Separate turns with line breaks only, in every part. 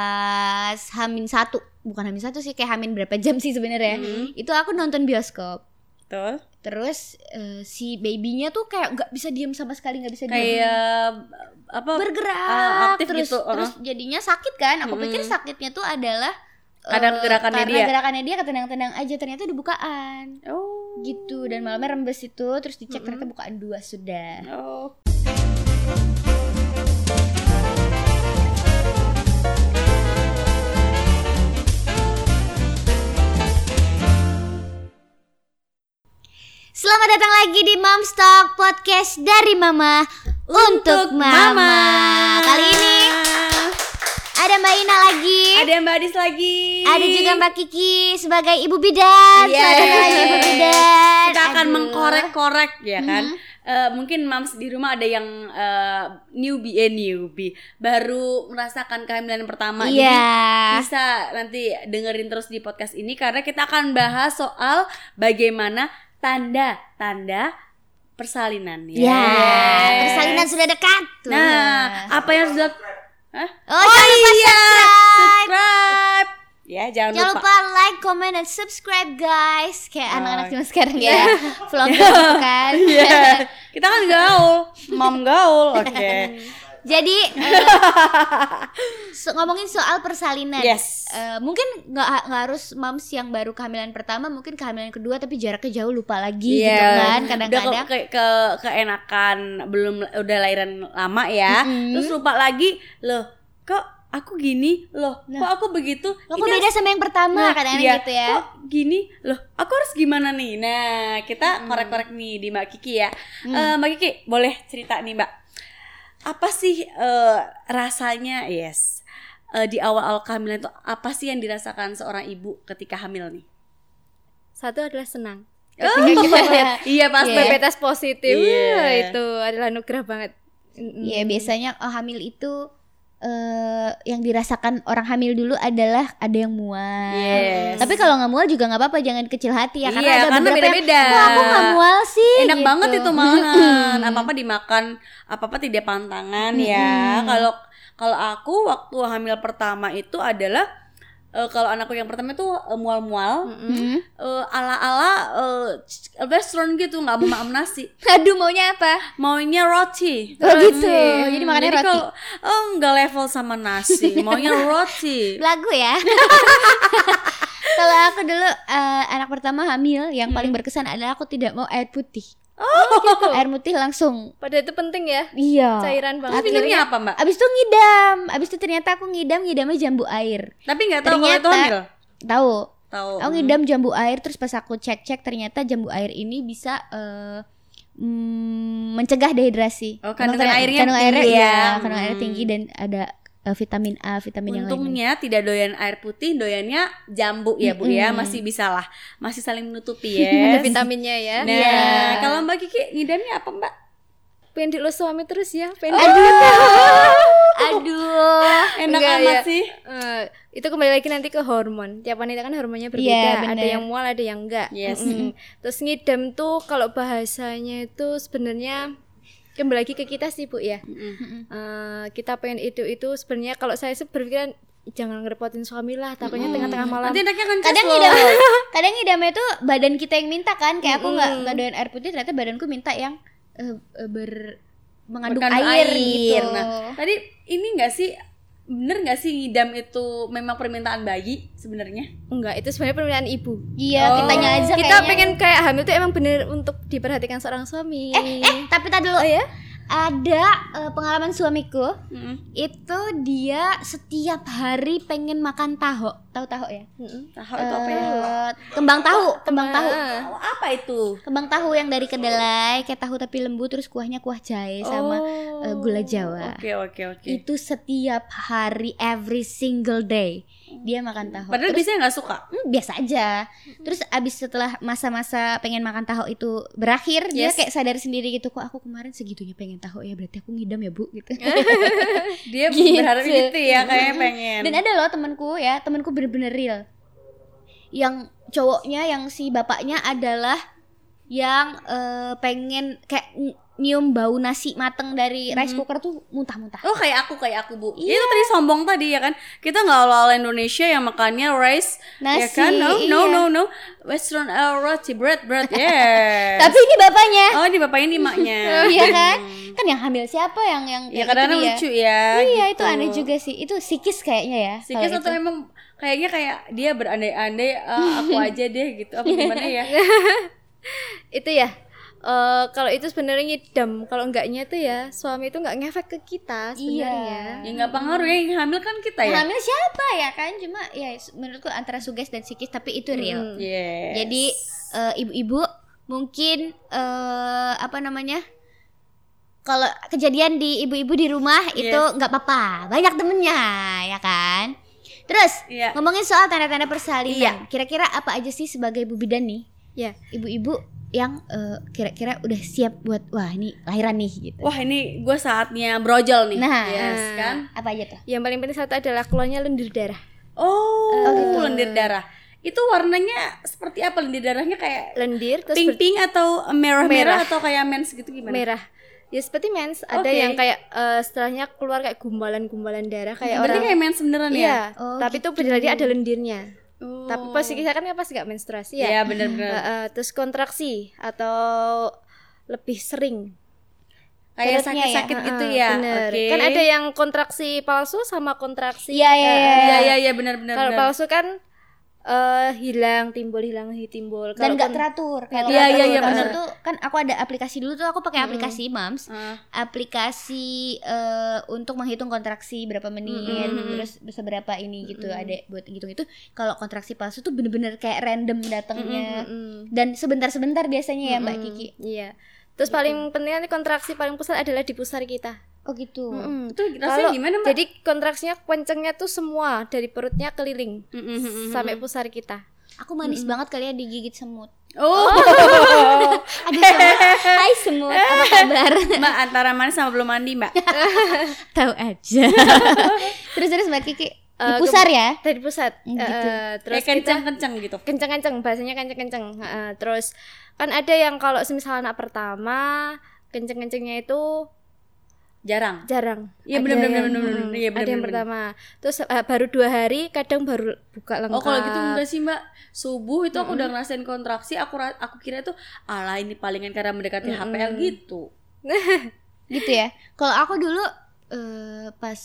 pas Hamin satu bukan Hamin satu sih kayak Hamin berapa jam sih sebenarnya
Mm-hmm.
itu aku nonton bioskop Gitu.
Betul.
terus eh, si babynya tuh kayak nggak bisa diem sama sekali nggak bisa diem
Kayak apa?
bergerak
eh, aktif
terus
gitu, uh-uh.
terus jadinya sakit kan aku pikir
Mm.
sakitnya tuh adalah eh,
Karena gerakannya
karena
dia.
gerakannya dia ketendang-tendang aja ternyata udah bukaan
oh.
gitu dan malamnya rembes itu terus dicek
Mm-mm.
ternyata bukaan dua sudah
Oh.
selamat datang lagi di Mom's Talk podcast dari Mama untuk, Mama. kali ini ada Mbak Ina lagi
ada Mbak Adis lagi.
ada juga Mbak Kiki sebagai ibu bidan
Yeay.
Selamat datang lagi, ibu bidan
Kita Iya. akan
Aduh.
mengkorek-korek ya kan.
Mhm.
Eh, mungkin moms di rumah ada yang eh, newbie eh newbie baru merasakan kehamilan pertama. Jadi
iya
bisa nanti dengerin terus di podcast ini karena kita akan bahas soal bagaimana tanda-tanda persalinan.
Ya,
Yes.
persalinan sudah dekat. Tuh.
Iya. Nah, apa yang sudah Hah?
oh, jangan lupa subscribe.
subscribe. Ya, jangan,
Jangan
lupa.
lupa like, comment, dan subscribe guys. Kayak
Oh.
anak-anak zaman sekarang ya, vlogger gitu kan.
Iya. Kita kan gaul, mom gaul. Oke.
Jadi eh, so- ngomongin soal persalinan.
Yes.
Eh, mungkin nggak ha- nggak harus moms yang baru kehamilan pertama, mungkin kehamilan kedua tapi jaraknya jauh lupa lagi
Iya.
gitu kan
Udah ke,
kadang-kadang.
ke, ke- keenakan belum udah lahiran lama ya.
Mm-mm.
Terus lupa lagi, loh, kok aku gini? Loh, kok aku begitu?
Lo
Ini
kok beda sama yang pertama
Nah,
kadang-kadang
iya.
gitu ya.
Kok gini? Loh, aku harus gimana nih? Nah, kita korek-korek nih di Mbak Kiki ya. Eh, Mbak Kiki, boleh cerita nih, Mbak. Apa sih eh, rasanya? Yes. Eh, di awal-awal kehamilan itu apa sih yang dirasakan seorang ibu ketika hamil nih?
Satu adalah senang.
Ketika kita lihat, iya pasti.
Iya.
Betas positif.
Iya.
Wah, itu adalah nugerah banget. Mm-mm.
Iya
Hmm.
biasanya oh, hamil itu eh yang dirasakan orang hamil dulu adalah ada yang mual.
Yes.
Tapi kalau nggak mual juga nggak apa-apa, jangan kecil hati ya karena
Iya,
ada
karena
beberapa yang,
beda-beda.
"Wah, aku nggak mual sih.
enak
gitu.
banget itu malahan apa apa dimakan apa apa tidak pantangan ya kalau kalau aku waktu hamil pertama itu adalah eh, kalau anakku yang pertama itu eh, mual-mual
Hmm.
eh, ala-ala eh, c- western gitu nggak mau makan nasi
Aduh maunya apa?
maunya roti
Oh gitu.
Hmm,
Jadi makannya roti.
kalau, oh, nggak level sama nasi maunya roti
Lagu ya. kalau aku dulu eh, anak pertama hamil yang paling
Hmm.
berkesan adalah aku tidak mau air putih.
Oh,
Gitu.
Air putih langsung.
Padahal itu penting ya.
Iya.
Cairan
terus
banget.
minumnya apa mbak
Abis itu ngidam. Abis itu ternyata aku ngidam, ngidamnya jambu air.
tapi nggak tahu kalau itu
Ternyata-
hamil
Tahu?
tahu
Aku ngidam jambu air terus pas aku cek-cek ternyata jambu air ini bisa eh, mm, mencegah dehidrasi.
Oh,
Emang
kandungan
ternyata-
airnya
kandungan
tinggi
airnya-
ya.
iya, kandungan airnya
Hmm.
tinggi dan ada eh, vitamin A, vitamin yang lain.
Untungnya tidak doyan air putih, doyannya jambu ya Bu ya,
Mm-mm.
masih bisa lah, masih saling menutupi
Ada
ya.
vitaminnya ya.
Nah,
Iya.
kalau Mbak Kiki ngidamnya apa Mbak?
Pengen dilus suami terus ya. Pengen.
Aduh.
Enak
Enggak,
amat
ya.
sih.
Eh, itu kembali lagi nanti ke hormon. Tiap wanita kan hormonnya berbeda.
Iya, bener.
ada yang mual, ada yang enggak.
Yes.
Mm-mm. Terus ngidam tuh kalau bahasanya itu sebenarnya kembali lagi ke kita sih Bu ya. Eh, kita pengen itu itu sebenarnya kalau saya sih berpikiran jangan ngerepotin suami lah takutnya
Hmm.
tengah-tengah malam
Nanti anaknya kan
Kadang ngidam kadang ngidamnya tuh badan kita yang minta kan kayak aku nggak
Mm-mm.
nggak doyan air putih ternyata badanku minta yang eh, eh, ber mengandung
Berkandung
air,
air.
gitu.
Nah, Tadi ini enggak sih bener nggak sih ngidam itu memang permintaan bayi sebenarnya?
enggak itu sebenarnya permintaan ibu
iya,
Oh.
kitanya aja
kita
kayaknya.
pengen kayak hamil tuh emang bener untuk diperhatikan seorang suami
eh, tapi tadi dulu.
Oh, ya?
Ada eh, pengalaman suamiku
Mm-mm.
itu dia setiap hari pengen makan tahu tahu tahu ya
Mm-mm.
Tahu itu apa ya?
Eh, kembang tahu kembang tahu
Ah.
Tahu apa itu?
kembang tahu yang dari kedelai kayak tahu tapi lembut terus kuahnya kuah jahe sama
Oh.
eh, gula jawa
Oke oke oke.
itu setiap hari every single day dia makan tahu
Padahal
Terus,
biasanya nggak suka.
hmm, biasa aja terus abis setelah masa-masa pengen makan tahu itu berakhir dia
Yes.
kayak sadar sendiri gitu kok aku kemarin segitunya pengen tahu ya berarti aku ngidam ya bu gitu
Dia
Gitu.
berharap gitu ya kayaknya pengen.
Dan ada loh temanku ya, temanku bener-bener real. Yang cowoknya yang si bapaknya adalah yang eh, pengen kayak ng- nyium bau nasi mateng dari rice
Hmm.
cooker tuh muntah-muntah.
Oh kayak aku kayak aku bu.
Iya.
Itu tadi sombong tadi ya kan. Kita nggak ala-ala Indonesia yang makannya rice ya
Nasi,
kan? No no
iya.
no no. Western uh, roti bread bread. Yeah.
iya. Tapi ini bapaknya.
oh ini bapaknya ini emaknya.
Iya kan? Kan yang hamil siapa yang yang
ya
kayak
kadang
gitu dia?
lucu ya.
Iya, itu
gitu.
aneh juga sih. Itu psikis kayaknya ya.
Sikis
kalau
atau
itu.
emang kayaknya kayak dia berandai-andai "Ah, aku aja deh gitu apa gimana ya?
itu ya eh, kalau itu sebenarnya ngidam kalau enggaknya tuh ya suami itu enggak ngefek ke kita sebenarnya
Iya.
ya nggak pengaruh ya yang hamil kan kita ya.
Hamil siapa ya kan? Cuma ya menurutku antara suges dan psikis tapi itu real.
Hmm.
Yes.
Jadi eh, ibu-ibu mungkin eh, apa namanya? Kalau kejadian di ibu-ibu di rumah itu
Yes.
nggak apa-apa, banyak temennya ya kan. Terus
Iya.
ngomongin soal tanda-tanda persalinan, kira-kira apa aja sih sebagai ibu bidan nih,
ya
ibu-ibu yang eh, kira-kira udah siap buat wah ini lahiran nih gitu.
Wah ini gue saatnya brojol nih.
Nah.
yes, kan.
Apa aja tuh?
yang paling penting satu adalah keluarnya lendir darah
Oh,
gitu.
lendir darah. Itu warnanya seperti apa lendir darahnya kayak
lendir terus ber-
pink-pink atau
Merah.
merah-merah atau kayak mens gitu gimana?
merah ya seperti mens ada
Oke.
yang kayak eh, setelahnya keluar kayak gumbalan-gumbalan darah kayak
Berarti
orang
kayak mens beneran ya?
iya
Oh,
tapi itu berarti ada lendirnya
Oh.
tapi pas kita kan pas nggak menstruasi
Iya
ya
bener-bener.
Eh, eh, terus kontraksi atau lebih sering
perutnya
kayak
ya.
sakit-sakit gitu
Heeh,
ya.
bener.
Oke.
Kan ada yang kontraksi palsu sama kontraksi.
Iya iya
eh,
iya.
Iya iya iya benar-benar.
Kalau palsu kan eh, hilang, timbul, hilang, hi-
Dan
timbul. Kalau kan-
nggak
kon-
teratur.
nggak
Iya, iya, iya,
Kalau
benar.
itu kan aku ada aplikasi dulu tuh aku pakai aplikasi Mams. aplikasi eh, untuk menghitung kontraksi berapa menit
Mm-mm.
terus seberapa ini gitu ada buat hitung itu kalau kontraksi palsu tuh bener-bener kayak random datangnya
Mm-mm.
dan sebentar-sebentar biasanya ya Mbak
Mm-mm.
Kiki
Iya. Terus
Gitu.
paling penting nanti kontraksi paling pusat adalah di pusar kita.
oh gitu
Mm-mm.
Itu rasanya
Kalau
gimana, Mbak?
jadi kontraksinya kencengnya tuh semua dari perutnya keliling
Mm-mm, mm-mm.
sampai pusar kita.
aku manis banget kali ya digigit semut
Oh.
ada semut hai semut apa kabar
Mbak antara mana sama belum mandi, Mbak?
tahu aja terus terus Mbak Kiki di
Eh,
pusar ya
Dari pusat.
Mm, gitu.
Terus
Eh, terus
kayak kenceng-kenceng gitu.
kenceng-kenceng bahasanya kenceng-kenceng Heeh, terus kan ada yang kalau semisal anak pertama kenceng-kencengnya itu
Jarang.
jarang
Iya,
Ada
bener, bener,
yang-
bener, bener, bener. Iya,
ada
bener,
yang
bener.
pertama terus eh, baru dua hari kadang baru buka lengkap
Oh kalau gitu enggak sih mbak Subuh itu aku udah ngerasain kontraksi Aku ra- aku kira tuh Alah ini palingan karena mendekati
Mm-mm.
HPL gitu
gitu ya kalau aku dulu eh, pas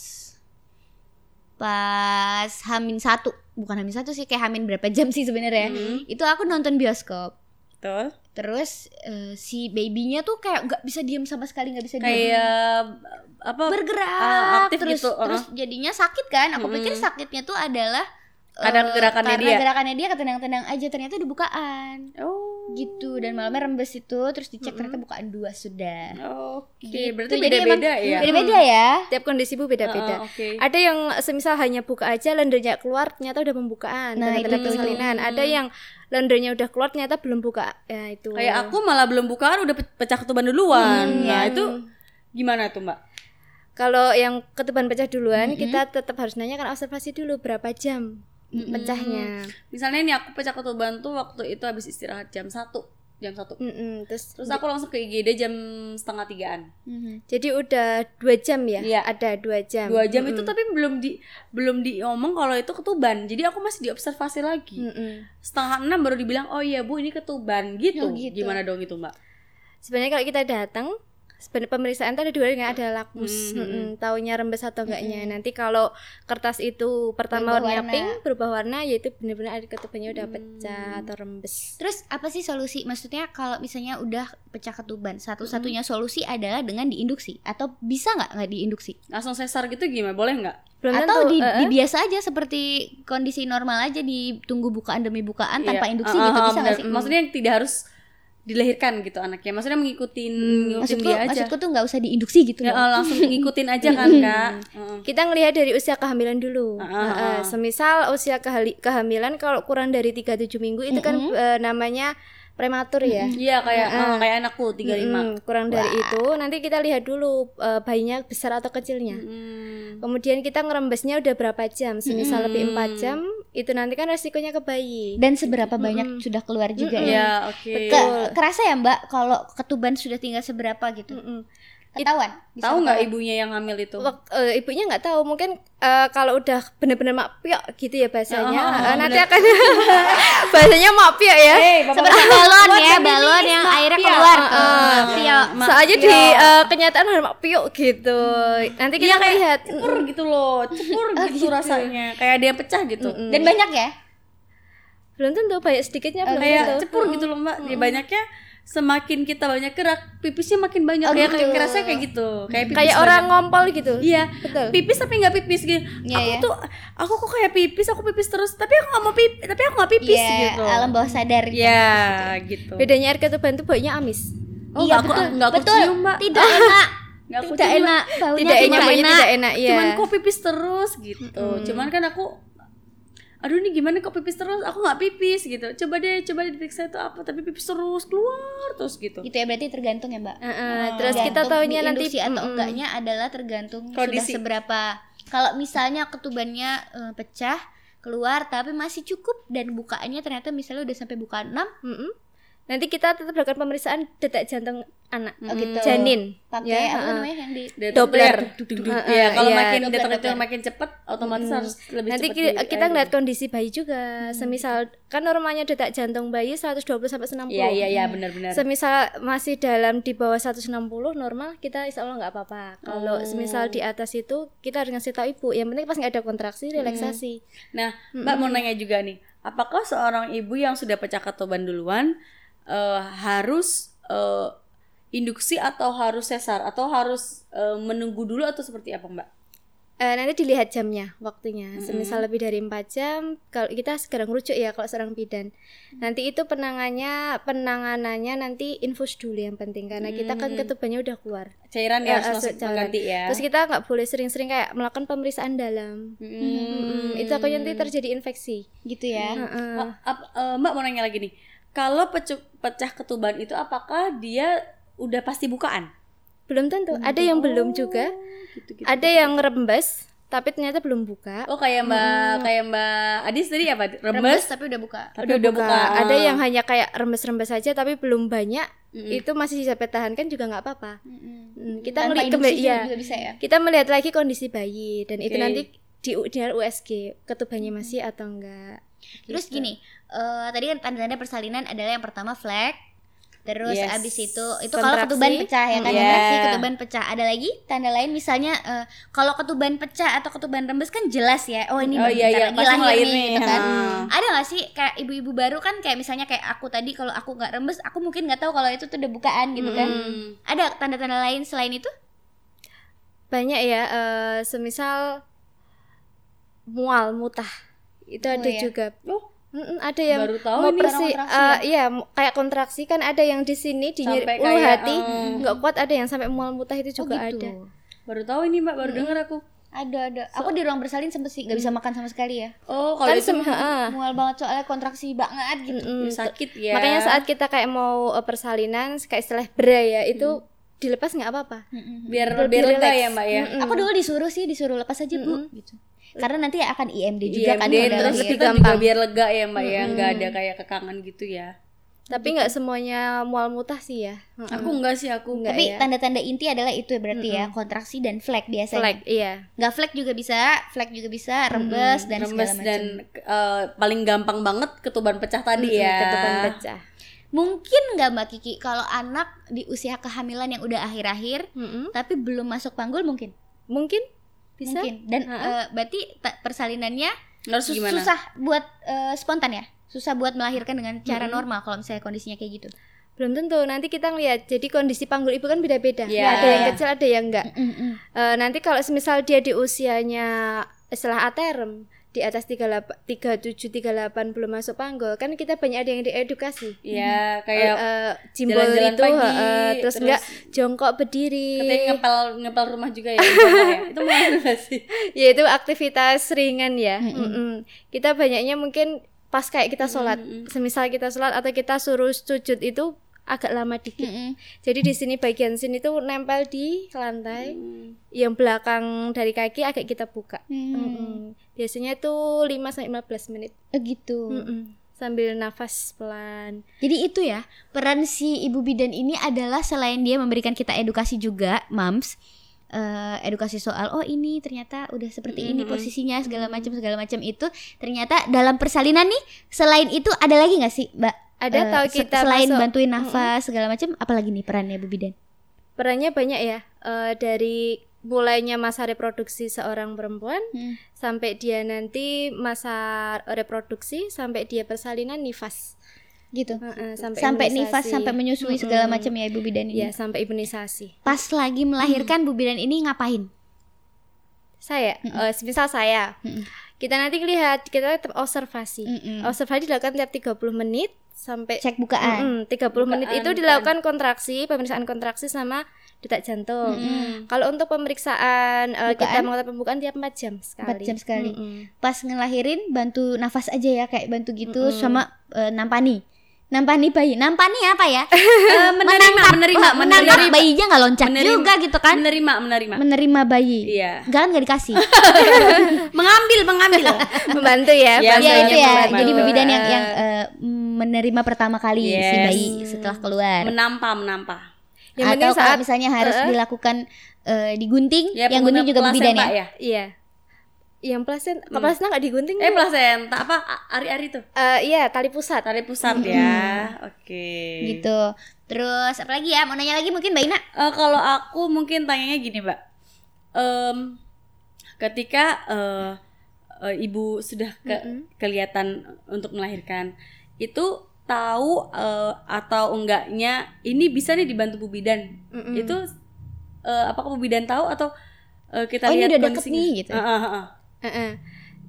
pas hamin satu bukan hamin satu sih kayak hamin berapa jam sih sebenarnya ya.
Mhm.
itu aku nonton bioskop
Betul
terus eh, si babynya tuh kayak nggak bisa diem sama sekali nggak bisa diem
Kayak Apa
bergerak
ah, aktif
terus
gitu, uh-uh.
terus jadinya sakit kan aku
Mhm.
pikir sakitnya tuh adalah eh,
Karena gerakannya
karena
dia.
gerakannya dia ketendang-tendang aja ternyata dibukaan
Oh
gitu dan malamnya rembes itu terus dicek ternyata bukaan dua sudah
Oke
Gitu,
Berarti
jadi emang
beda-beda ya
beda-beda ya
tiap kondisi bu
Heeh,
beda-beda
Oke
ada yang semisal hanya buka aja lendernya keluar ternyata udah pembukaan
Nah,
tanda-tanda
itu.
persalinan ada
Hmm.
yang lendernya udah keluar ternyata belum buka ya itu
Kayak aku malah belum bukaan udah pe- pecah ketuban duluan
Hmm,
Nah
ya.
itu gimana tuh mbak?
kalau yang ketuban pecah
Hmm.
duluan kita tetap harus nanyakan observasi dulu berapa jam
Hmm.
pecahnya
Misalnya nih aku pecah ketuban tuh waktu itu habis istirahat jam 1 Jam 1
Mm-mm, Hmm, terus,
Hmm. Terus aku langsung ke IGD jam setengah tigaan
Mhm.
jadi udah dua jam ya?
Iya.
Ada dua jam. Hmm,
dua jam itu tapi belum di belum di ngomong kalau itu ketuban jadi aku masih diobservasi lagi
Hmm.
Mm-mm.
setengah enam baru dibilang oh iya bu ini ketuban
Oh,
gitu,
gitu.
gimana dong itu mbak
Sebenarnya kalau kita datang, sebenarnya pemeriksaan tadi dua dengan ada lakmus,
Mm-mm.
Mm-mm, taunya rembes atau enggaknya. Nanti kalau kertas itu
Berubah
pertama warnanya
warna.
pink, berubah warna, yaitu benar-benar ada ketubannya udah pecah atau rembes.
Terus apa sih solusi? Maksudnya kalau misalnya udah pecah ketuban, satu-satunya solusi adalah dengan diinduksi atau bisa nggak nggak diinduksi?
langsung sesar gitu gimana boleh nggak
Belum
atau
tentu.
di,
eh, eh.
dibiasa aja seperti kondisi normal aja ditunggu bukaan demi bukaan tanpa
Iya.
induksi
Ah,
gitu
ah,
bisa nggak sih?
benar. maksudnya yang tidak harus dilahirkan gitu anaknya maksudnya mengikutin
Hmm,
ngikutin
Maksudku,
dia aja
maksudku tuh nggak usah diinduksi gitu.
ya,
loh.
ah, langsung ngikutin aja kan kak Heeh.
Kita ngelihat dari usia kehamilan
Ah,
dulu.
ah,
Nah, eh,
ah.
semisal usia kehali- kehamilan kalau kurang dari 37 minggu itu kan eh, namanya prematur ya.
iya kayak ah, kayak anakku 35
Hmm.
Mm-mm, kurang dari itu nanti kita lihat dulu eh, bayinya besar atau kecilnya
Hmm.
kemudian kita ngerembesnya udah berapa jam semisal lebih 4 jam itu nanti kan resikonya ke bayi.
Dan seberapa banyak
Mm-mm.
sudah keluar juga ya?
Mm-mm.
Iya, oke.
Ke- kerasa ya Mbak kalau ketuban sudah tinggal seberapa gitu?
Mm-mm.
Ketahuan? Bisa
Tahu nggak
ketahuan?
ibunya yang hamil itu?
Wak- eh, ibunya nggak tahu mungkin eh, kalau udah bener-bener mak piok gitu ya
Oh,
bahasanya
oh, oh,
eh, nanti
bener. Eh,
akan bahasanya mak piok ya
Seperti balon ya, balon yang airnya keluar.
Eh, eh,
Pio.
Mak
soalnya di
piok.
eh, kenyataan ada mak piok gitu nanti kita
Iya, kayak
lihat
cepur gitu loh, cepur
Ah,
gitu, rasanya. Kayak ada yang pecah gitu.
Mm-mm.
Dan banyak ya?
belum tentu banyak sedikitnya belum
kayak
tentu
cepur gitu loh mbak ya banyaknya semakin kita banyak gerak pipisnya makin banyak
Oh,
kayak
gitu.
kayak rasanya kayak gitu kayak pipis
kayak orang ngompol gitu
banyak. iya
betul
pipis tapi nggak pipis gitu
Iya,
aku
iya.
tuh aku kok kayak pipis aku pipis terus tapi aku nggak mau pipis tapi aku nggak pipis
Iya,
gitu
alam bawah sadar.
Iya.
gitu.
ya gitu
bedanya air ketuban tuh baunya amis Ah,
oh,
Iya,
nggak aku nggak aku
Betul.
cium mbak
Tidak enak.
Nggak aku
tidak
cium, Mbak.
enak. Baunya
tidak enak
tidak
baunya
enak.
tidak enak ya
cuman kok pipis terus gitu cuman kan aku aduh ini gimana kok pipis terus aku nggak pipis gitu coba deh coba diperiksa itu apa tapi pipis terus keluar terus gitu
Gitu ya berarti tergantung ya, Mbak.
Eh, eh,
Oh,
terus kita
Tergantung
taunya nanti
diinduksi atau
mm-mm.
enggaknya adalah tergantung
Kondisi.
sudah seberapa. Kalau misalnya ketubannya eh, pecah keluar tapi masih cukup dan bukaannya ternyata misalnya udah sampai bukaan 6
Mm-mm. nanti kita tetap lakukan pemeriksaan detak jantung anak
oh gitu.
janin
pakai
Ya,
apa
heeh.
namanya yang di
Detak-
Doppler.
ya, duk- duk- duk-
Heeh,
ya, kalau
iya.
makin
Doppler,
detak jantung
Doppler.
makin cepat otomatis
Hmm.
harus lebih
Nanti
cepat Hmm.
kita,
di-
kita
air
ngeliat
gitu.
kondisi bayi juga. Semisal kan normalnya detak jantung bayi 120 sampai 90.
Iya iya iya benar-benar.
Semisal masih dalam di bawah 160 normal kita insya Allah nggak apa-apa. Kalau
Oh.
semisal di atas itu kita harus ngasih tahu ibu. Yang penting pas nggak ada kontraksi relaksasi.
Hmm.
Hmm.
Nah, Mbak mau nanya juga nih, apakah seorang ibu yang sudah pecah ketuban duluan eh, harus eh, induksi atau harus sesar atau harus eh, menunggu dulu atau seperti apa, Mbak?
Eh, nanti dilihat jamnya, waktunya. Semisal lebih dari 4 jam, kalau kita segera ngerujuk ya kalau seorang bidan. Nanti itu penangannya penanganannya nanti infus dulu yang penting karena kita kan ketubannya udah keluar.
Cairan
Eh,
ya harus
eh,
langsung
cairan.
mengganti ya.
Terus kita nggak boleh sering-sering kayak melakukan pemeriksaan dalam.
Hmm.
Mm-mm. Itu aku nanti terjadi infeksi.
gitu ya.
Heeh.
Oh, ap- eh, Mbak mau nanya lagi nih. Kalau pecu- pecah ketuban itu apakah dia udah pasti bukaan? Oh,
Belum tentu. Ada yang belum juga.
Gitu-gitu.
Ada yang rembes, tapi ternyata belum buka.
Oh kayak Mbak kayak Mbak Adis tadi apa?
Rembes
Rembes,
tapi udah buka.
tapi udah, buka.
Ada yang hanya kayak rembes-rembes saja, tapi belum banyak.
Mm-mm.
Itu masih bisa pertahankan juga nggak apa-apa. Mm,
Hmm, Tanpa
Kita ngelihat
induksi
kembali-
juga,
iya.
juga bisa ya.
Kita melihat lagi kondisi bayi dan itu
Oke. Hmm.
nanti di dengan USG ketubannya masih atau enggak.
Gitu.
Terus gini, eh, tadi kan tanda-tanda persalinan adalah yang pertama flag. Terus
Yes.
abis itu itu kalau
Kontraksi.
ketuban pecah ya kan
Mm,
kontraksi,
yeah.
ketuban pecah. Ada lagi tanda lain misalnya eh, kalau ketuban pecah atau ketuban rembes kan jelas ya. Oh ini
Oh,
bentar
iya, iya.
lagi
Pasti
lahir,
mau lahir
nih,
nih.
gitu kan.
Hmm.
Ada gak sih kayak ibu-ibu baru kan kayak misalnya kayak aku tadi kalau aku nggak rembes, aku mungkin nggak tahu kalau itu tuh udah bukaan gitu kan.
Mm.
Ada tanda-tanda lain selain itu?
Banyak ya, eh, semisal mual, mutah. Itu
Oh,
ada
iya.
juga.
Oh.
Mm-mm, ada yang
baru tahu
Iya, mau
ini
persi
orang kontraksi
eh,
ya.
iya mu- kayak kontraksi kan ada yang di sini di nyeri
Sampai
ulu
kayak,
hati
eh,
nggak kuat ada yang sampai mual mutah itu
oh,
juga ada
gitu.
baru tahu ini mbak baru dengar aku
Ada ada. Aku di ruang bersalin sempet sih nggak bisa makan sama sekali ya.
oh kalau
kan
itu
sem- heeh.
Mual banget soalnya kontraksi banget gitu.
Mm-mm.
sakit ya
makanya saat kita kayak mau eh, persalinan kayak istilah bra ya itu
Hmm.
dilepas nggak apa-apa
Mm-mm.
biar
lebih
biar lega
relax.
ya mbak ya
Aku dulu disuruh sih disuruh lepas aja bu, gitu. Karena nanti akan IMD juga kan. kalau
IMD, Iya, terus
dalam
kita
ya.
juga biar lega ya mbak ya nggak ada kayak kekangan gitu ya
tapi nggak semuanya mual mutah sih ya Heeh.
aku enggak sih aku
Enggak.
Tapi
ya.
tanda-tanda inti adalah itu ya berarti ya kontraksi dan flek biasanya.
Flag, iya
Nggak flek juga bisa, flek juga bisa, rembes dan
rembes
segala macam.
dan eh, paling gampang banget ketuban pecah tadi ya
ketuban pecah
Mungkin nggak Mbak Kiki kalau anak di usia kehamilan yang udah akhir-akhir
Mm-mm.
tapi belum masuk panggul mungkin.
mungkin bisa
Mungkin. Dan eh, berarti ta- persalinannya
harus
sus-
gimana
susah buat eh, spontan ya. Susah buat melahirkan dengan cara normal kalau misalnya kondisinya kayak gitu.
belum tentu nanti kita ngeliat jadi kondisi panggul ibu kan beda-beda
Iya.
ada yang kecil ada yang enggak
Mm-mm.
Eh, nanti kalau semisal dia di usianya setelah aterm di atas 38 37 38 belum masuk panggul kan kita banyak ada yang diedukasi.
ya
Eh,
kayak
eh, jimbol
jalan-jalan
itu
pagi,
eh, terus
terus-
enggak jongkok berdiri.
katanya ngepel ngepel rumah juga ya, Mbak, ya? itu mau nggak sih
Yaitu aktivitas ringan ya. Mm-mm. Kita banyaknya mungkin pas kayak kita sholat. Semisal kita sholat atau kita suruh sujud itu agak lama dikit.
Mm-mm.
Jadi di sini bagian sini tuh nempel di lantai. Yang belakang dari kaki agak kita buka.
Hmm.
Mm-mm. Biar biasanya tuh 5 sampai 15 menit
Oh gitu.
Mm-mm. sambil nafas pelan
Jadi itu ya, peran si ibu bidan ini adalah selain dia memberikan kita edukasi juga, mams, eh, edukasi soal oh ini ternyata udah seperti ini
Mm-mm.
Mm-hmm.
posisinya segala macam segala macam itu ternyata dalam persalinan nih selain itu ada lagi nggak sih, Mbak?
ada
Eh,
tahu
se-
kita
selain
masuk-
bantuin nafas segala macam apalagi nih perannya ibu bidan?
perannya banyak ya Eh, dari mulainya masa reproduksi seorang perempuan
Hmm.
sampai dia nanti masa reproduksi sampai dia persalinan nifas
Gitu.
Heeh, sampai,
Sampai
imunisasi.
nifas, sampai menyusui
Mm-mm.
segala macam ya ibu bidan ini.
ya sampai imunisasi
Pas lagi melahirkan ibu bidan ini ngapain?
saya eh, misal saya
Mm-mm.
kita nanti lihat kita tetap observasi
Mm-mm.
observasi dilakukan tiap 30 menit sampai
Cek bukaan.
Mm-mm, 30
Bukaan,
menit itu
anu,
bukaan.
dilakukan kontraksi pemeriksaan kontraksi sama detak jantung kalau untuk pemeriksaan eh, kita
Bukaan?
mengatakan pembukaan tiap 4 jam sekali
4 jam sekali.
Mm-mm.
pas ngelahirin bantu nafas aja ya kayak bantu gitu
Mm-mm.
sama eh, nampani nampani bayi nampani apa ya
Eh, menerima, menerima,
Oh, menangkap
menerima,
bayinya nggak loncak
Menerima.
juga gitu kan
menerima, menerima.
menerima bayi
Iya.
Enggak kan nggak dikasih
Mengambil, mengambil.
membantu
Ya,
ya,
ya
bantuannya
itu ya
membantu.
jadi
membantu.
bidan yang
Eh,
yang eh, menerima pertama kali si
Iya. Yes.
bayi setelah keluar
menampa, menampa.
yang
atau
penting
kalau
saat
misalnya harus
eh, eh.
dilakukan eh, digunting yang
Ya, pengguna
gunting juga
plasenta
bidan ya
iya yang plasenta
Mm.
Hmm.
plasenta nggak digunting
Eh,
Bu?
plasenta apa? A- Ari-ari tuh.
Eh, iya tali pusat
Tali pusat ya. Oke.
gitu terus apalagi ya mau nanya lagi mungkin mbak Ina
Eh, kalau aku mungkin tanyanya gini, Mbak. Em, ketika eh, eh, ibu sudah ke- kelihatan untuk melahirkan, itu tahu eh, atau enggaknya ini bisa nih dibantu Bu bidan.
Mm-mm.
Itu eh, apakah Bu bidan tahu atau eh, kita
Oh, ini
lihat
udah deket
kondisinya?
nih, gitu.
Ah, ah, ah.
Heeh. eh,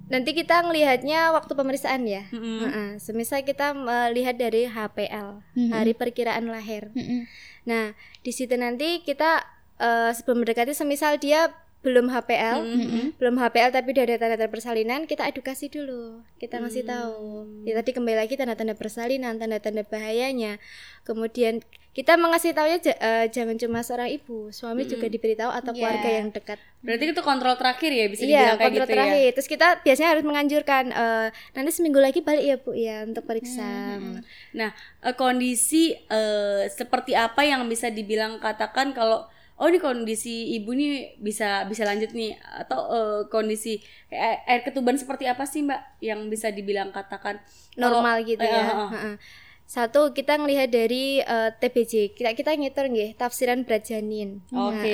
nanti kita ngelihatnya waktu pemeriksaan ya
Mm-mm.
Heeh, semisal kita melihat dari HPL
Mm-mm.
hari perkiraan lahir
Mm-mm.
nah di situ nanti kita eh, sebelum mendekati semisal dia belum HPL
Mm-mm.
belum HPL tapi udah ada tanda-tanda persalinan kita edukasi dulu kita
Mm.
ngasih tahu ya tadi kembali lagi tanda-tanda persalinan tanda-tanda bahayanya kemudian kita mengasih tahunya ja- eh, jangan cuma seorang ibu suami juga diberitahu
Iya.
atau keluarga yang dekat
Berarti itu kontrol terakhir ya bisa
iya
dibilang kayak
kontrol
gitu
terakhir
ya.
terus kita biasanya harus menganjurkan eh, nanti seminggu lagi balik ya bu ya untuk periksa
Nah, eh, kondisi eh, seperti apa yang bisa dibilang katakan kalau oh ini kondisi ibu nih bisa bisa lanjut nih atau eh, kondisi kayak air ketuban seperti apa sih Mbak yang bisa dibilang katakan kalau-
normal gitu
eh,
ya
eh, eh.
Heeh. satu kita ngelihat dari eh, TBJ kita kita ngitung nggih tafsiran berat janin
Oke,
Nah,
oke.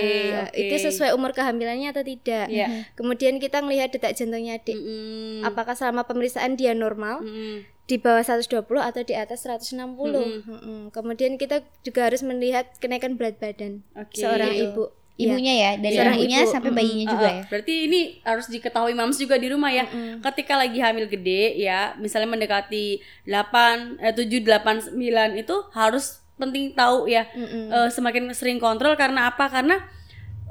eh, itu sesuai umur kehamilannya atau tidak
Iya.
kemudian kita ngelihat detak jantungnya adik
Mm-mm.
apakah selama pemeriksaan dia normal
Mm-mm.
di bawah 120 atau di atas 160
Mm-mm.
Mm-mm. kemudian kita juga harus melihat kenaikan berat badan
Oke.
seorang
Gitu.
ibu Iya.
ibunya ya dari
Seorang
ibunya
ibu.
sampai
Mm-mm.
bayinya
Ah,
juga
ah.
ya
Berarti ini harus diketahui mams juga di rumah ya.
Mm-mm.
Ketika lagi hamil gede ya, misalnya mendekati 8 eh, 7 8 9 itu harus penting tahu ya.
Mm-mm.
Eh, semakin sering kontrol karena apa? Karena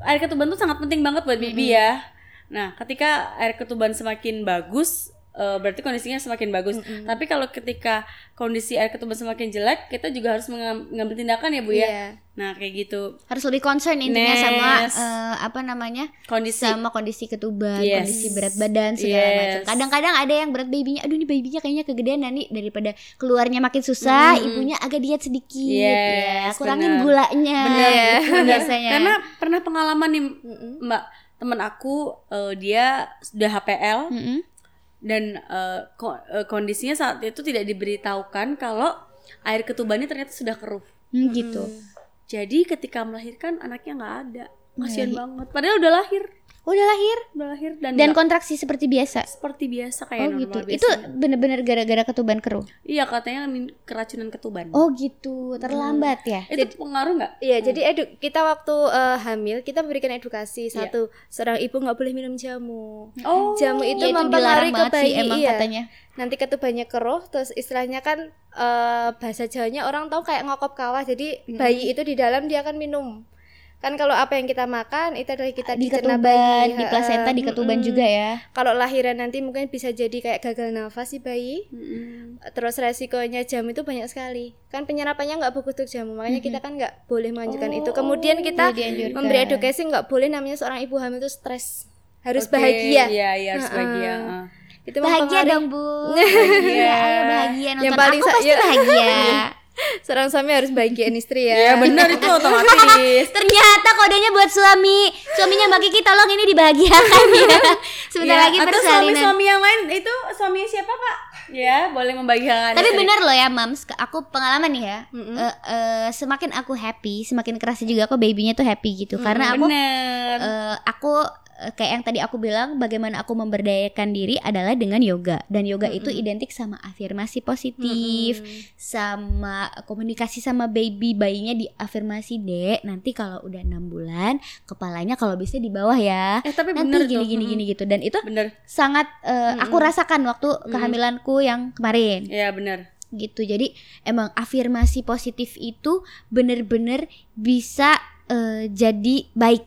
air ketuban itu sangat penting banget buat bibi ya. Nah, ketika air ketuban semakin bagus, eh, berarti kondisinya semakin bagus. Tapi kalau ketika kondisi air ketuban semakin jelek, kita juga harus mengam- mengambil tindakan ya bu ya.
Iya.
Nah, kayak gitu
harus lebih concern intinya
Nes.
sama eh, apa namanya
kondisi.
sama kondisi ketuban
Yes.
kondisi berat badan segala
Yes.
macam kadang-kadang ada yang berat babynya aduh ini babynya kayaknya kegedean nah, nih daripada keluarnya makin susah
Mm.
ibunya agak diet sedikit ya
Yes,
kurangin
bener.
gulanya
Bener,
gitu
bener.
biasanya
Karena pernah pengalaman nih
Mm-mm.
Mbak, teman aku eh, dia sudah HPL
Mm-mm.
dan eh, ko- eh, kondisinya saat itu tidak diberitahukan kalau air ketubannya ternyata sudah keruh.
Hmm, gitu
Jadi ketika melahirkan anaknya nggak ada. Kasihan banget. Padahal udah lahir,
udah lahir
udah lahir
Nah,
dan,
dan
nggak
kontraksi seperti biasa
seperti biasa
Oh
kayak normal
gitu,
biasa.
itu bener-bener gara-gara ketuban keruh
Iya katanya min- keracunan ketuban.
Oh gitu, terlambat ya
Itu pengaruh nggak?
Iya, jadi edu- kita waktu eh, hamil kita memberikan edukasi
Iya.
satu seorang ibu nggak boleh minum jamu.
Oh.
Jamu itu
Ya,
mempengaruhi ke
banget sih
bayi,
emang
iya.
katanya
Nanti ketubannya keruh, terus istilahnya kan eh, bahasa Jawanya orang tahu kayak ngokop kawah. Jadi bayi itu di dalam dia akan minum. Kan kalau apa yang kita makan itu adalah kita
di
dicerna
ketuban,
bayi,
di
heeh.
plasenta, di ketuban
Mm-mm.
juga ya.
Kalau lahiran nanti mungkin bisa jadi kayak gagal nafas si bayi.
Mm-mm.
terus resikonya jam itu banyak sekali kan penyerapannya nggak begitu jamu makanya kita kan nggak
Oh, iya,
boleh mengajukan itu kemudian kita
Boleh dianjurkan.
memberi edukasi nggak boleh namanya seorang ibu hamil itu stres harus
Oke,
bahagia.
Iya, iya harus
Heeh.
bahagia. heeh.
Itu
Bahagia
mempengaruhi-
dong bu. Bahagia, ayo bahagia nonton.
Yang paling
Aku
sa-
pasti
ya.
bahagia.
Seorang suami harus bahagiain istri ya.
Iya,
Ya benar itu otomatis.
Ternyata kodenya buat suami. Suaminya Mbak Kiki tolong ini dibahagiakan
Iya.
ya. Sebentar
Ya,
lagi
atau
persalinan.
suami-suami yang lain itu suami siapa pak? Ya boleh membagikan.
Tapi bener loh ya mams, Ke- aku pengalaman nih ya.
Hmm?
Eh, eh, semakin aku happy, semakin kerasa juga aku babynya tuh happy gitu.
Hmm,
Karena aku
Bener.
eh, aku eh, kayak yang tadi aku bilang bagaimana aku memberdayakan diri adalah dengan yoga dan yoga itu identik sama afirmasi positif sama komunikasi sama baby bayinya di afirmasi dek nanti kalau udah enam bulan kepalanya kalau bisa di bawah ya
eh tapi
nanti
bener
gini
tuh.
gini gini gitu dan itu
Bener.
sangat eh, aku rasakan waktu kehamilanku yang kemarin
Ya bener.
gitu jadi emang afirmasi positif itu bener-bener bisa eh, jadi baik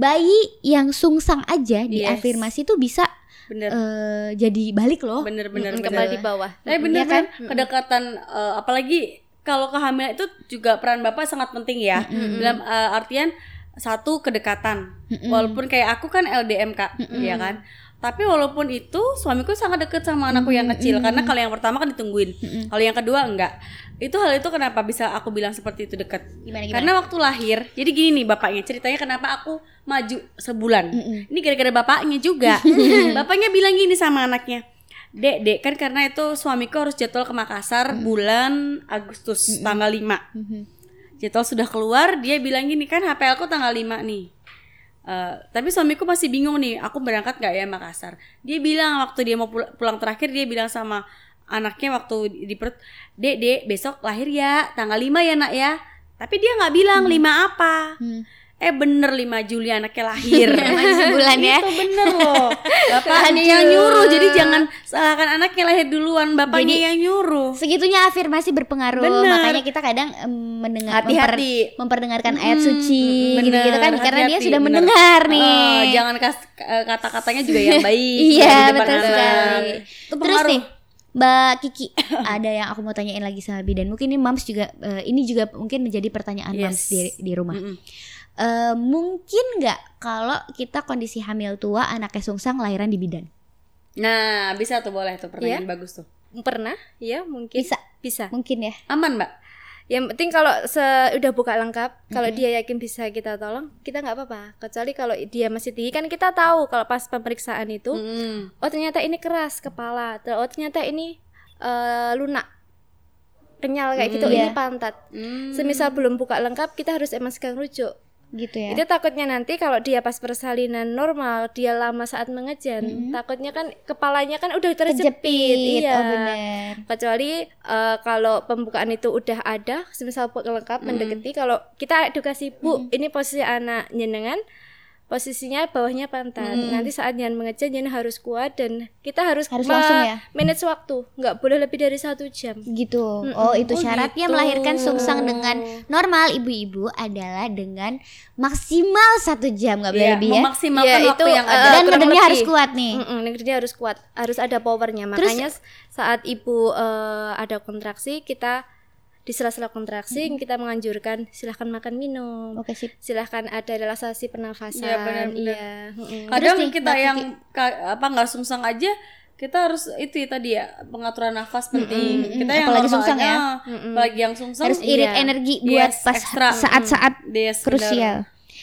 bayi yang sungsang aja di
Yes.
afirmasi itu bisa
Bener.
eh, jadi balik loh
bener bener
Mm,
bener.
Kembali di bawah.
Tapi
Iya
bener
kan?
kan kedekatan eh, apalagi kalau kehamilan itu juga peran bapak sangat penting ya. Dalam eh, artian satu kedekatan.
Mm-mm.
Walaupun kayak aku kan LDM kak, ya kan. Tapi walaupun itu suamiku sangat deket sama anakku yang kecil karena kalau yang pertama kan ditungguin, kalau yang kedua enggak. Itu hal itu kenapa bisa aku bilang seperti itu dekat?
gimana gimana
Karena waktu lahir, jadi gini nih bapaknya ceritanya kenapa aku maju sebulan.
Mm-mm.
Ini gara-gara bapaknya juga. bapaknya bilang gini sama anaknya. Dek, dek kan karena itu suamiku harus jadwal ke Makassar bulan Agustus tanggal 5.
Mhm.
Jadwal sudah keluar, dia bilang gini kan HPL aku tanggal 5 nih. Eh, tapi suamiku masih bingung nih, aku berangkat nggak ya Makassar? Dia bilang waktu dia mau pul- pulang terakhir dia bilang sama anaknya waktu di- di perut, "Dek, Dek, besok lahir ya, tanggal 5 ya, Nak ya." Tapi dia nggak bilang 5 apa.
Hmm.
Eh bener 5 Juli anaknya lahir.
Masih sebulan ya
Itu bener loh. Bapaknya yang nyuruh, jadi jangan salahkan anaknya lahir duluan, bapaknya
Jadi-
yang nyuruh.
segitunya afirmasi berpengaruh
Bener.
makanya kita kadang em, mendengar memper-
Hati-hati.
memperdengarkan ayat suci
Mm,
gitu-gitu kan
bener,
karena dia
hati-hati,
sudah
bener.
mendengar nih
Eh, jangan kas- eh, kata-katanya juga yang baik.
Iya
jangan di depan
betul
anak.
sekali.
Itu
Terus
pengaruh.
nih Mbak Kiki ada yang aku mau tanyain lagi sama Bidan. Mungkin ini Mams juga eh, ini juga mungkin menjadi pertanyaan
Yes.
Mams di di rumah.
Mm-mm.
Eh, mungkin nggak kalau kita kondisi hamil tua anaknya sungsang lahiran di bidan?
Nah, bisa tuh boleh tuh pertanyaan
Iya.
bagus tuh.
Pernah? Ya, mungkin
Bisa
bisa.
mungkin ya.
Aman, Mbak?
Yang penting kalau se- udah buka lengkap, kalau dia yakin bisa kita tolong, kita nggak apa-apa. Kecuali kalau dia masih tinggi kan kita tahu kalau pas pemeriksaan itu,
Mm.
Mm-mm.
oh ternyata ini keras kepala, ter- oh ternyata ini eh, lunak, kenyal kayak gitu,
Hmm,
ini
iya.
pantat.
Mm.
Semisal belum buka lengkap, kita harus emang sekarang rujuk.
Gitu ya.
Itu takutnya nanti kalau dia pas persalinan normal, dia lama saat mengejan,
Hmm.
takutnya kan kepalanya kan udah terjepit.
Terjepit.
iya.
Oh benar.
Kecuali eh, kalau pembukaan itu udah ada, semisal buka lengkap
Hmm.
mendekati kalau kita edukasi Bu, ini posisi anak nyenengan posisinya bawahnya pantat. Nanti saat nyen mengejan nyen harus kuat dan kita harus,
Hmm. Harus
ma-
langsung ya?
manage waktu, nggak boleh lebih dari satu jam.
Gitu. Oh, itu
Oh,
syaratnya
gitu.
melahirkan sungsang dengan
Iya,
normal ibu-ibu adalah dengan maksimal satu jam nggak boleh
Iya,
lebih ya.
memaksimalkan
Iya,
waktu
itu,
yang ada.
eh,
Dan
kurang
badannya
lebih.
harus kuat nih.
Mm-mm, negeri dia harus kuat, harus ada powernya. Makanya s- saat ibu eh, ada kontraksi, kita di sela-sela kontraksi kita menganjurkan silahkan makan minum,
Oke sip.
silahkan ada relaksasi pernafasan.
Iya, benar-benar.
Iya, mm-mm.
kadang
Terus nih,
kita
Mbak
yang ka- apa nggak sungsang aja kita harus itu ya tadi ya pengaturan nafas penting
mm,
kita yang
apalagi
normal
sungsang ya.
aja, apalagi yang sungsang
harus irit
iya.
energi buat
Yes,
pas
extra.
saat-saat
Yes, benar.
krusial.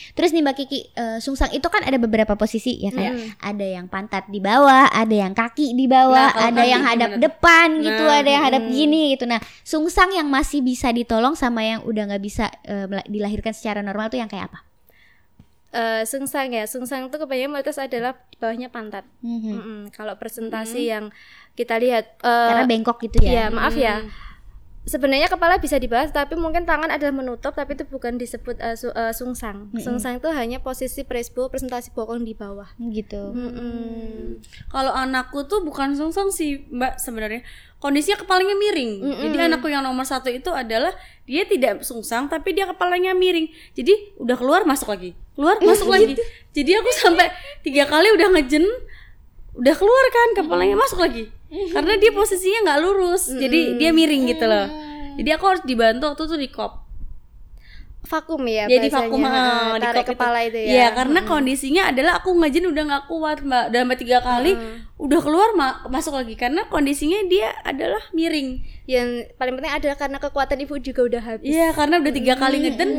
Terus nih Mbak Kiki, eh, sungsang itu kan ada beberapa posisi ya kayak
Iya.
ada yang pantat di bawah, ada yang kaki di bawah,
Nah, kalau
ada
kaki
yang hadap
gimana tuh?
depan gitu,
Nah,
ada yang hadap gini gitu. Nah, sungsang yang masih bisa ditolong sama yang udah nggak bisa eh, mela- dilahirkan secara normal tuh yang kayak apa?
Eh, sungsang ya, sungsang itu kebanyakan mayoritas adalah di bawahnya pantat.
Mhm.
Mm-mm. Kalau presentasi yang kita lihat, Mm-hmm. eh,
Karena bengkok gitu
ya
ya.
maaf ya. Sebenarnya kepala bisa dibahas, tapi mungkin tangan adalah menutup, tapi itu bukan disebut eh, su- eh, sungsang. Sungsang itu hanya posisi presbo, presentasi bokong di bawah.
Gitu.
Mm-mm.
kalau anakku tuh bukan sungsang sih mbak sebenarnya kondisinya kepalanya miring jadi anakku yang nomor satu itu adalah dia tidak sungsang tapi dia kepalanya miring jadi udah keluar masuk lagi keluar masuk lagi jadi aku sampai tiga kali udah ngejen udah keluar kan kepalanya masuk lagi karena dia posisinya nggak lurus jadi dia miring gitu loh jadi aku harus dibantu waktu itu di kop
vakum ya
jadi
bahasanya,
vakum
eh,
ah, di
tarik
kop itu.
kepala itu ya
Iya, karena kondisinya adalah aku ngajin udah nggak kuat mbak, udah sampai tiga kali, udah keluar ma- masuk lagi karena kondisinya dia adalah miring.
yang paling penting adalah karena kekuatan ibu juga udah habis
Iya, karena udah tiga kali ngeden,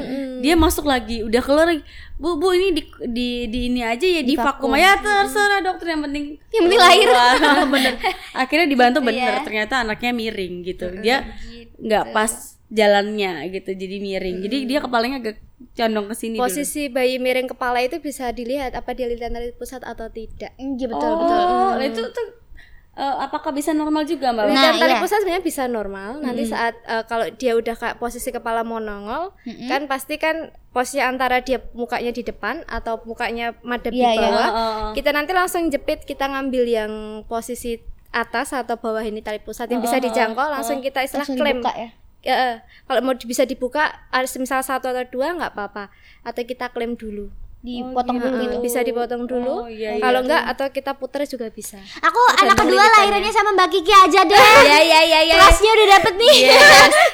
dia masuk lagi, udah keluar lagi. Bu, bu ini di di, di ini aja ya di, vakum aja terserah dokter yang penting
Yang penting lahir.
keluar. bener. Akhirnya dibantu bener, ternyata anaknya miring gitu. Dia nggak pas jalannya gitu, jadi miring. Jadi dia kepalanya agak condong ke sini. dulu.
posisi bayi miring kepala itu bisa dilihat apa dia lilitan dari pusat atau tidak
Iya betul
oh,
betul. Hmm.
lah itu tuh eh, apakah bisa normal juga
Nah,
mbak?
Lilitan tali
iya.
pusat sebenarnya bisa normal. Nanti saat eh, kalau dia udah kayak posisi kepala monongol, kan pasti kan posisi antara dia mukanya di depan atau mukanya
Iya,
madep di
iya.
bawah.
Oh, oh.
Kita nanti langsung jepit, kita ngambil yang posisi atas atau bawah ini tali pusat yang bisa dijangkau, langsung kita istilah
Langsung
klaim.
dibuka ya.
Ya, eh, kalau mau di- bisa dibuka, harus misal satu atau dua nggak apa-apa. Atau kita klaim dulu.
Dipotong dulu
Eh,
gitu.
Bisa dipotong dulu.
Oh, iya, iya.
kalau nggak, atau kita putar juga bisa.
Aku anak kedua lahirannya sama Mbak Kiki aja deh. Iya iya iya iya. Kelasnya udah dapet nih.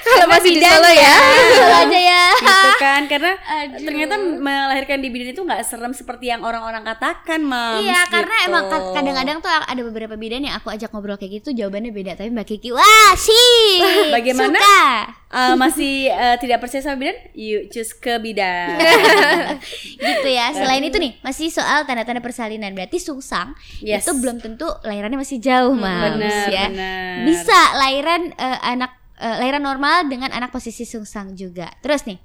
Kalau masih di Solo ya.
Solo aja ya.
gitu kan karena ternyata melahirkan di bidan itu nggak serem seperti yang orang-orang katakan gitu. mam
Iya karena emang kad- kadang-kadang tuh ada beberapa bidan yang aku ajak ngobrol kayak gitu jawabannya beda tapi Mbak Kiki wah sih
Bagaimana?
suka.
masih eh, tidak percaya sama bidan yuk cus ke bidan
gitu ya selain itu nih masih soal tanda-tanda persalinan berarti sungsang
Yes.
itu belum tentu lahirannya masih jauh mas
benar
ya
benar
bisa lahiran eh, anak eh, lahiran normal dengan anak posisi sungsang juga terus nih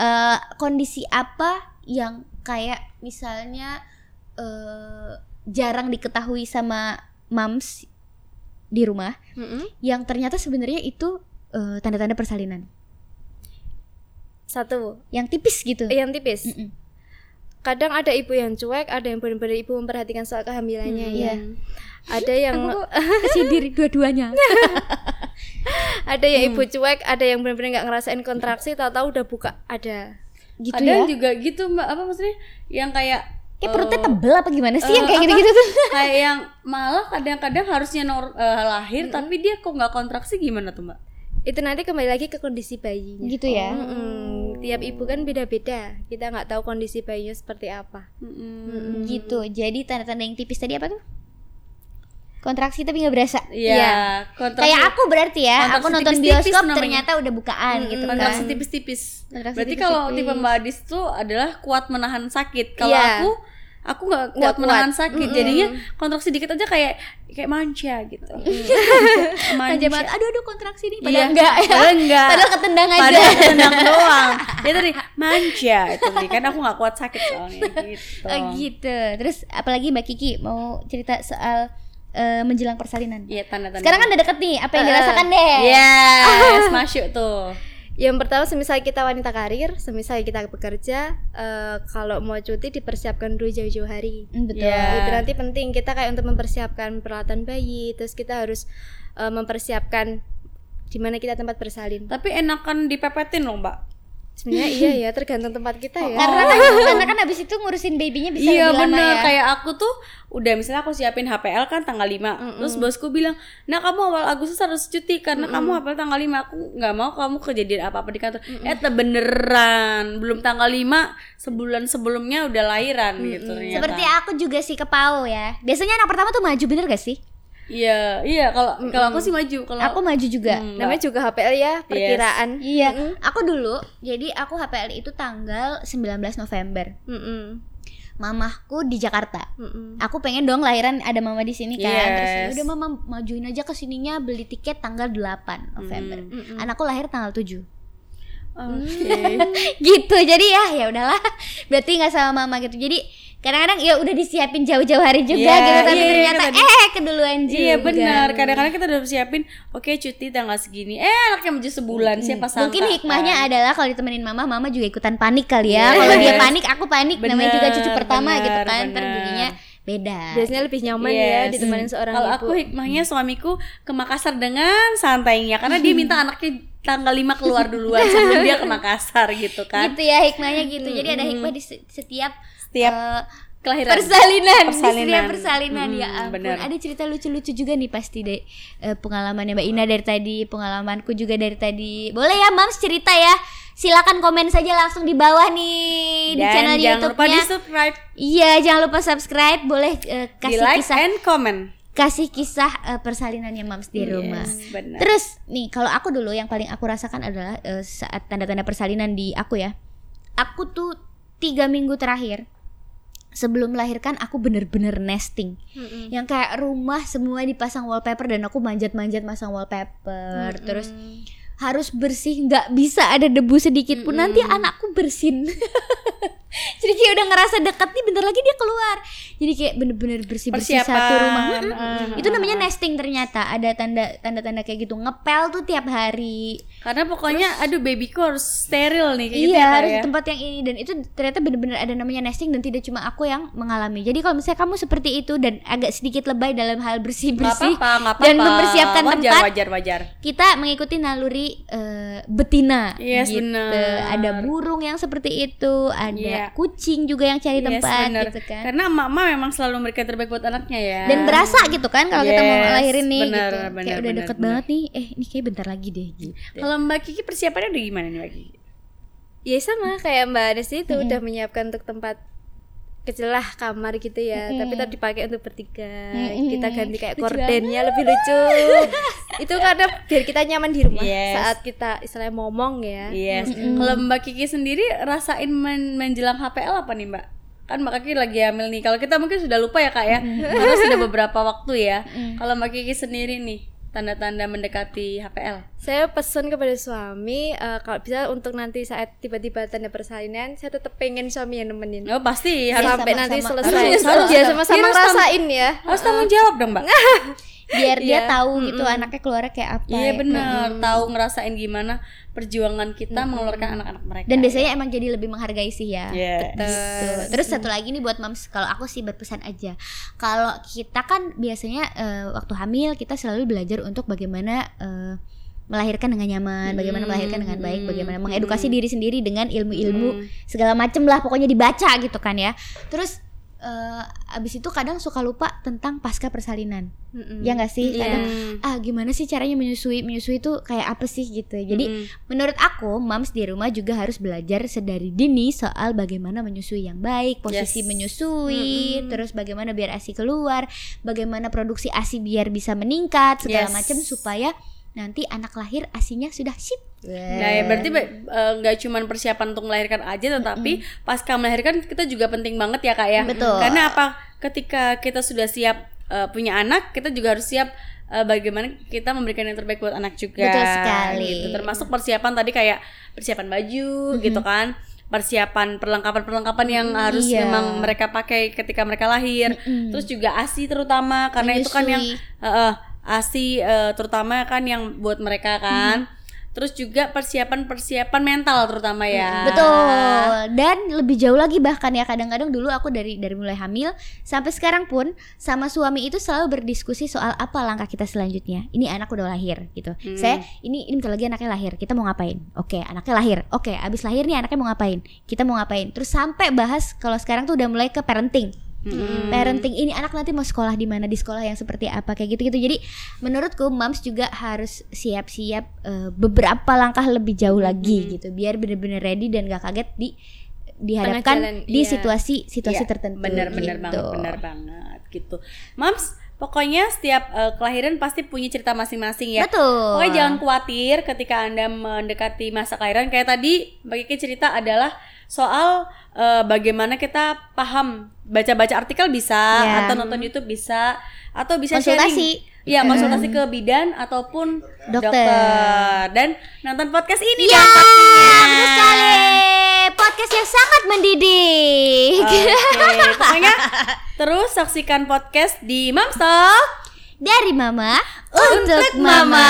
eh, kondisi apa yang kayak misalnya eh, jarang diketahui sama moms di rumah
Mm-mm.
yang ternyata sebenarnya itu eh, tanda-tanda persalinan
Satu,
yang tipis gitu
yang tipis.
Mm-mm.
kadang ada ibu yang cuek, ada yang benar-benar ibu memperhatikan soal kehamilannya
Hmm, iya.
ya. Ada yang
kesindir dua-duanya
ada yang ibu cuek, ada yang benar-benar nggak ngerasain kontraksi, tahu-tahu udah buka. Ada.
gitu ya
kadang juga gitu mbak apa maksudnya yang kayak
kayak perutnya tebel apa gimana sih yang
eh,
kayak
apa?
gitu-gitu tuh
kayak yang malah kadang-kadang harusnya nor- eh, lahir tapi dia kok nggak kontraksi gimana tuh mbak
Itu nanti kembali lagi ke kondisi bayinya.
gitu ya
Mm-mm. Tiap ibu kan beda-beda. Kita nggak tahu kondisi bayinya seperti apa.
Mm-mm.
gitu jadi tanda-tanda yang tipis tadi apa tuh kontraksi tapi nggak berasa
Iya,
Iya.
kontraksi-
kayak aku berarti ya
kontraksi
aku nonton
tipis-tipis
bioskop
namanya.
ternyata udah bukaan gitu kan
kontraksi tipis-tipis.
Kontraksi
Berarti
tipis-tipis.
kalau tipe Mbak Adis itu adalah kuat menahan sakit. Kalau
Iya.
aku aku nggak kuat,
Nggak kuat.
menahan sakit, jadinya kontraksi dikit aja kayak kayak manja gitu.
aja
manja
banget aduh aduh kontraksi nih Mm.
Iya.
padahal enggak ya
Padahal enggak.
padahal ketendang aja Oh,
Padahal tenang doang. Dia tadi manja itu nih kan aku nggak kuat sakit soalnya gitu.
Oh, gitu terus apalagi mbak Kiki mau cerita soal eh, menjelang persalinan
Iya tanda-tanda. Iya.
sekarang kan udah deket nih apa yang dirasakan deh
Yes, masuk tuh.
Yang pertama semisal kita wanita karir, semisal kita bekerja, eh, kalau mau cuti dipersiapkan dulu jauh-jauh hari.
Hmm, betul
Iya.
itu nanti penting kita kayak untuk mempersiapkan peralatan bayi terus kita harus eh, mempersiapkan di mana kita tempat bersalin
Tapi enakan dipepetin loh, Mbak.
sebenarnya iya ya tergantung tempat kita ya
karena kan karena kan abis itu ngurusin babynya bisa
iya
lebih lama
bener
ya
kayak aku tuh udah misalnya aku siapin HPL kan tanggal 5 terus bosku bilang nah kamu awal Agustus harus cuti karena kamu HPL tanggal 5 aku nggak mau kamu kejadian apa apa di kantor eh te- beneran belum tanggal 5 sebulan sebelumnya udah lahiran gitu ternyata
seperti aku juga sih ke PAO ya biasanya anak pertama tuh maju bener gak sih
iya iya kalau kalau aku sih maju kalau
aku maju juga
Hmm,
namanya juga HPL ya perkiraan
Iya, aku dulu jadi aku HPL itu tanggal 19 November.
Mm-mm.
Mamahku di Jakarta.
Mm-mm.
Aku pengen dong lahiran ada mama di sini kan. Terus
Mm. Yes.
udah mama majuin aja ke sininya beli tiket tanggal 8 November.
Mm-mm.
Anakku lahir tanggal 7.
Oke.
gitu. Jadi ya ya udahlah. Berarti nggak sama mama gitu. Jadi kadang-kadang ya udah disiapin jauh-jauh hari juga
Iya,
gitu tapi
iya, iya,
ternyata
tadi.
eh keduluan juga.
Iya benar. Kadang-kadang kita udah siapin, oke cuti tanggal segini. Eh anaknya maju sebulan siapa sangka.
Mungkin hikmahnya
kan?
adalah kalau ditemenin mama, mama juga ikutan panik kali ya. Kalau dia
Yes.
panik, aku panik. Namanya
Iya, Bener,
juga cucu pertama gitu
bener,
kan. Ntar
bener.
jadinya beda.
biasanya lebih nyaman ya
Yes.
ditemani seorang
Kalau
ibu
aku hikmahnya suamiku ke Makassar dengan santainya karena dia minta anaknya tanggal 5 keluar duluan sebelum dia ke Makassar gitu kan.
Gitu ya hikmahnya gitu. Jadi ada hikmah di se- setiap
Setiap
eh,
kelahiran.
persalinan, di
Persalinan.
setiap persalinan ya
Mm,
ampun.
bener.
Ada cerita lucu-lucu juga nih pasti deh eh, pengalamannya Mbak Ina dari tadi, pengalamanku juga dari tadi. Boleh ya, Mams cerita ya Silakan komen saja langsung di bawah nih di
Dan
channel
jangan lupa di
YouTube-nya.
subscribe,
Iya, jangan lupa subscribe, boleh eh,
di
kasih
like
kisah
and comment.
kasih kisah eh, persalinannya Mams di rumah.
Yes, Nah. benar.
Terus nih kalau aku dulu yang paling aku rasakan adalah eh, saat tanda-tanda persalinan di aku ya. Aku tuh tiga minggu terakhir sebelum melahirkan aku bener-bener nesting.
Hmm,
Mm-mm.
Yang kayak rumah semua dipasang wallpaper dan aku manjat-manjat masang wallpaper. Terus harus bersih nggak bisa ada debu sedikit pun nanti anakku bersin. jadi kayak udah ngerasa dekat nih bentar lagi dia keluar. Jadi kayak bener-bener bersih-bersih satu rumah. Hmm,
Persiapan.
Mm-mm.
Ah.
Itu namanya nesting ternyata. Ada tanda tanda-tanda kayak gitu. Ngepel tuh tiap hari.
Karena pokoknya aduh babyku harus steril nih kayak gitu
iya,
ya, Kak,
harus
ya.
di tempat yang ini dan itu ternyata benar-benar ada namanya nesting dan tidak cuma aku yang mengalami. Jadi kalau misalnya kamu seperti itu dan agak sedikit lebay dalam hal
Nggak
bersih-bersih
apa-apa, nggak apa-apa.
dan mempersiapkan
wajar,
tempat,
Wajar, wajar,
kita mengikuti naluri eh, betina
Yes,
gitu.
benar.
Ada burung yang seperti itu, ada
Iya.
kucing juga yang cari
Yes,
tempat
benar.
gitu kan.
Karena mama memang selalu memberikan terbaik buat anaknya ya.
Dan berasa gitu kan kalau kita mau
Yes,
ngelahirin nih
benar,
gitu.
benar,
kayak udah
benar,
deket
benar.
banget nih. Eh, ini kayak bentar lagi deh gitu.
Kalau Mbak Kiki persiapannya udah gimana nih Mbak Kiki?
ya sama kayak Mbak Anes itu
Mm-mm.
udah menyiapkan untuk tempat kecil lah kamar gitu ya tapi
Mm-mm.
tadi dipakai untuk bertiga
Mm-mm.
kita ganti kayak
Lucu
kordennya lebih lucu itu karena biar kita nyaman di rumah
Yes.
saat kita istilahnya ngomong ya
Yes.
Mm-mm.
Kalau Mbak Kiki sendiri rasain men- menjelang HPL apa nih Mbak? Kan Mbak Kiki lagi hamil nih. Kalau kita mungkin sudah lupa ya Kak ya. Karena sudah beberapa waktu ya. Kalau Mbak Kiki sendiri nih tanda-tanda mendekati HPL.
saya pesan kepada suami eh, kalau bisa untuk nanti saat tiba-tiba tanda persalinan saya tetap pengen suami yang nemenin
Oh pasti
Iya,
harus
sampai
sama-sama.
nanti selesai
Harus, harus.
ya sama-sama
Harus tam-
rasain ya
harus tanggung jawab dong Mbak.
Biar dia
Iya.
tahu gitu anaknya keluarnya kayak apa.
Iya
ya.
benar, tahu ngerasain gimana perjuangan kita mengeluarkan anak-anak mereka.
Dan biasanya emang jadi lebih menghargai sih ya.
Yes.
Gitu. Terus satu lagi nih buat moms, kalau aku sih berpesan aja. Kalau kita kan biasanya eh, waktu hamil kita selalu belajar untuk bagaimana eh, melahirkan dengan nyaman, bagaimana melahirkan dengan baik, bagaimana mengedukasi diri sendiri dengan ilmu-ilmu
Mm.
segala macem lah pokoknya dibaca gitu kan ya. Terus eh, abis itu kadang suka lupa tentang pasca persalinan.
Mm-mm.
Ya nggak sih?
Iya.
Kadang ah gimana sih caranya menyusui? Menyusui tuh kayak apa sih gitu. Jadi
Mm-mm.
Menurut aku, moms di rumah juga harus belajar sedari dini soal bagaimana menyusui yang baik, posisi
Yes.
menyusui, terus bagaimana biar ASI keluar, bagaimana produksi ASI biar bisa meningkat, segala
Yes.
macam supaya nanti anak lahir ASINYA sudah sip.
Nah, ya berarti ba- eh, nggak cuman persiapan untuk melahirkan aja, tetapi pasca melahirkan kita juga penting banget ya kak ya.
Betul.
Karena apa? Ketika kita sudah siap eh, punya anak, kita juga harus siap eh, bagaimana kita memberikan yang terbaik buat anak juga.
Betul sekali.
Gitu. Termasuk persiapan tadi kayak persiapan baju, gitu kan? Persiapan perlengkapan-perlengkapan yang harus
Iya.
memang mereka pakai ketika mereka lahir.
Mm-mm. Iya,
Terus juga asi terutama karena itu kan yang
Menyusui.
Heeh, ASI eh, terutama kan yang buat
Hmm.
mereka kan. Terus juga persiapan-persiapan mental terutama ya.
Hmm, Betul. Dan lebih jauh lagi bahkan ya kadang-kadang dulu aku dari dari mulai hamil sampai sekarang pun sama suami itu selalu berdiskusi soal apa langkah kita selanjutnya. Ini anak udah lahir gitu. Saya ini ini bentar lagi anaknya lahir. Kita mau ngapain? Oke, anaknya lahir. Oke, abis lahir nih anaknya mau ngapain? Kita mau ngapain? Terus sampai bahas kalau sekarang tuh udah mulai ke parenting.
Mm-mm.
Parenting ini anak nanti mau sekolah di mana, di sekolah yang seperti apa kayak gitu-gitu. Jadi menurutku moms juga harus siap-siap eh, beberapa langkah lebih jauh lagi gitu biar bener-bener ready dan gak kaget di dihadapkan
jalan,
di
iya.
situasi situasi
Iya,
tertentu.
Bener-bener
gitu.
banget, bener banget gitu. Mams, pokoknya setiap eh, kelahiran pasti punya cerita masing-masing ya.
Betul.
Pokoknya jangan khawatir ketika Anda mendekati masa kelahiran. Kayak tadi Mbak Kiki cerita adalah soal eh, bagaimana kita paham baca-baca artikel bisa
Ya.
atau nonton YouTube bisa atau bisa
Konsultasi.
sharing. Iya, konsultasi ke bidan ataupun dokter.
Dokter.
Dan nonton podcast ini
Iya,
dong pastinya.
betul sekali. Podcast yang sangat mendidik.
Oke, pokoknya terus saksikan podcast di Mamstalk
Dari mama untuk, mama.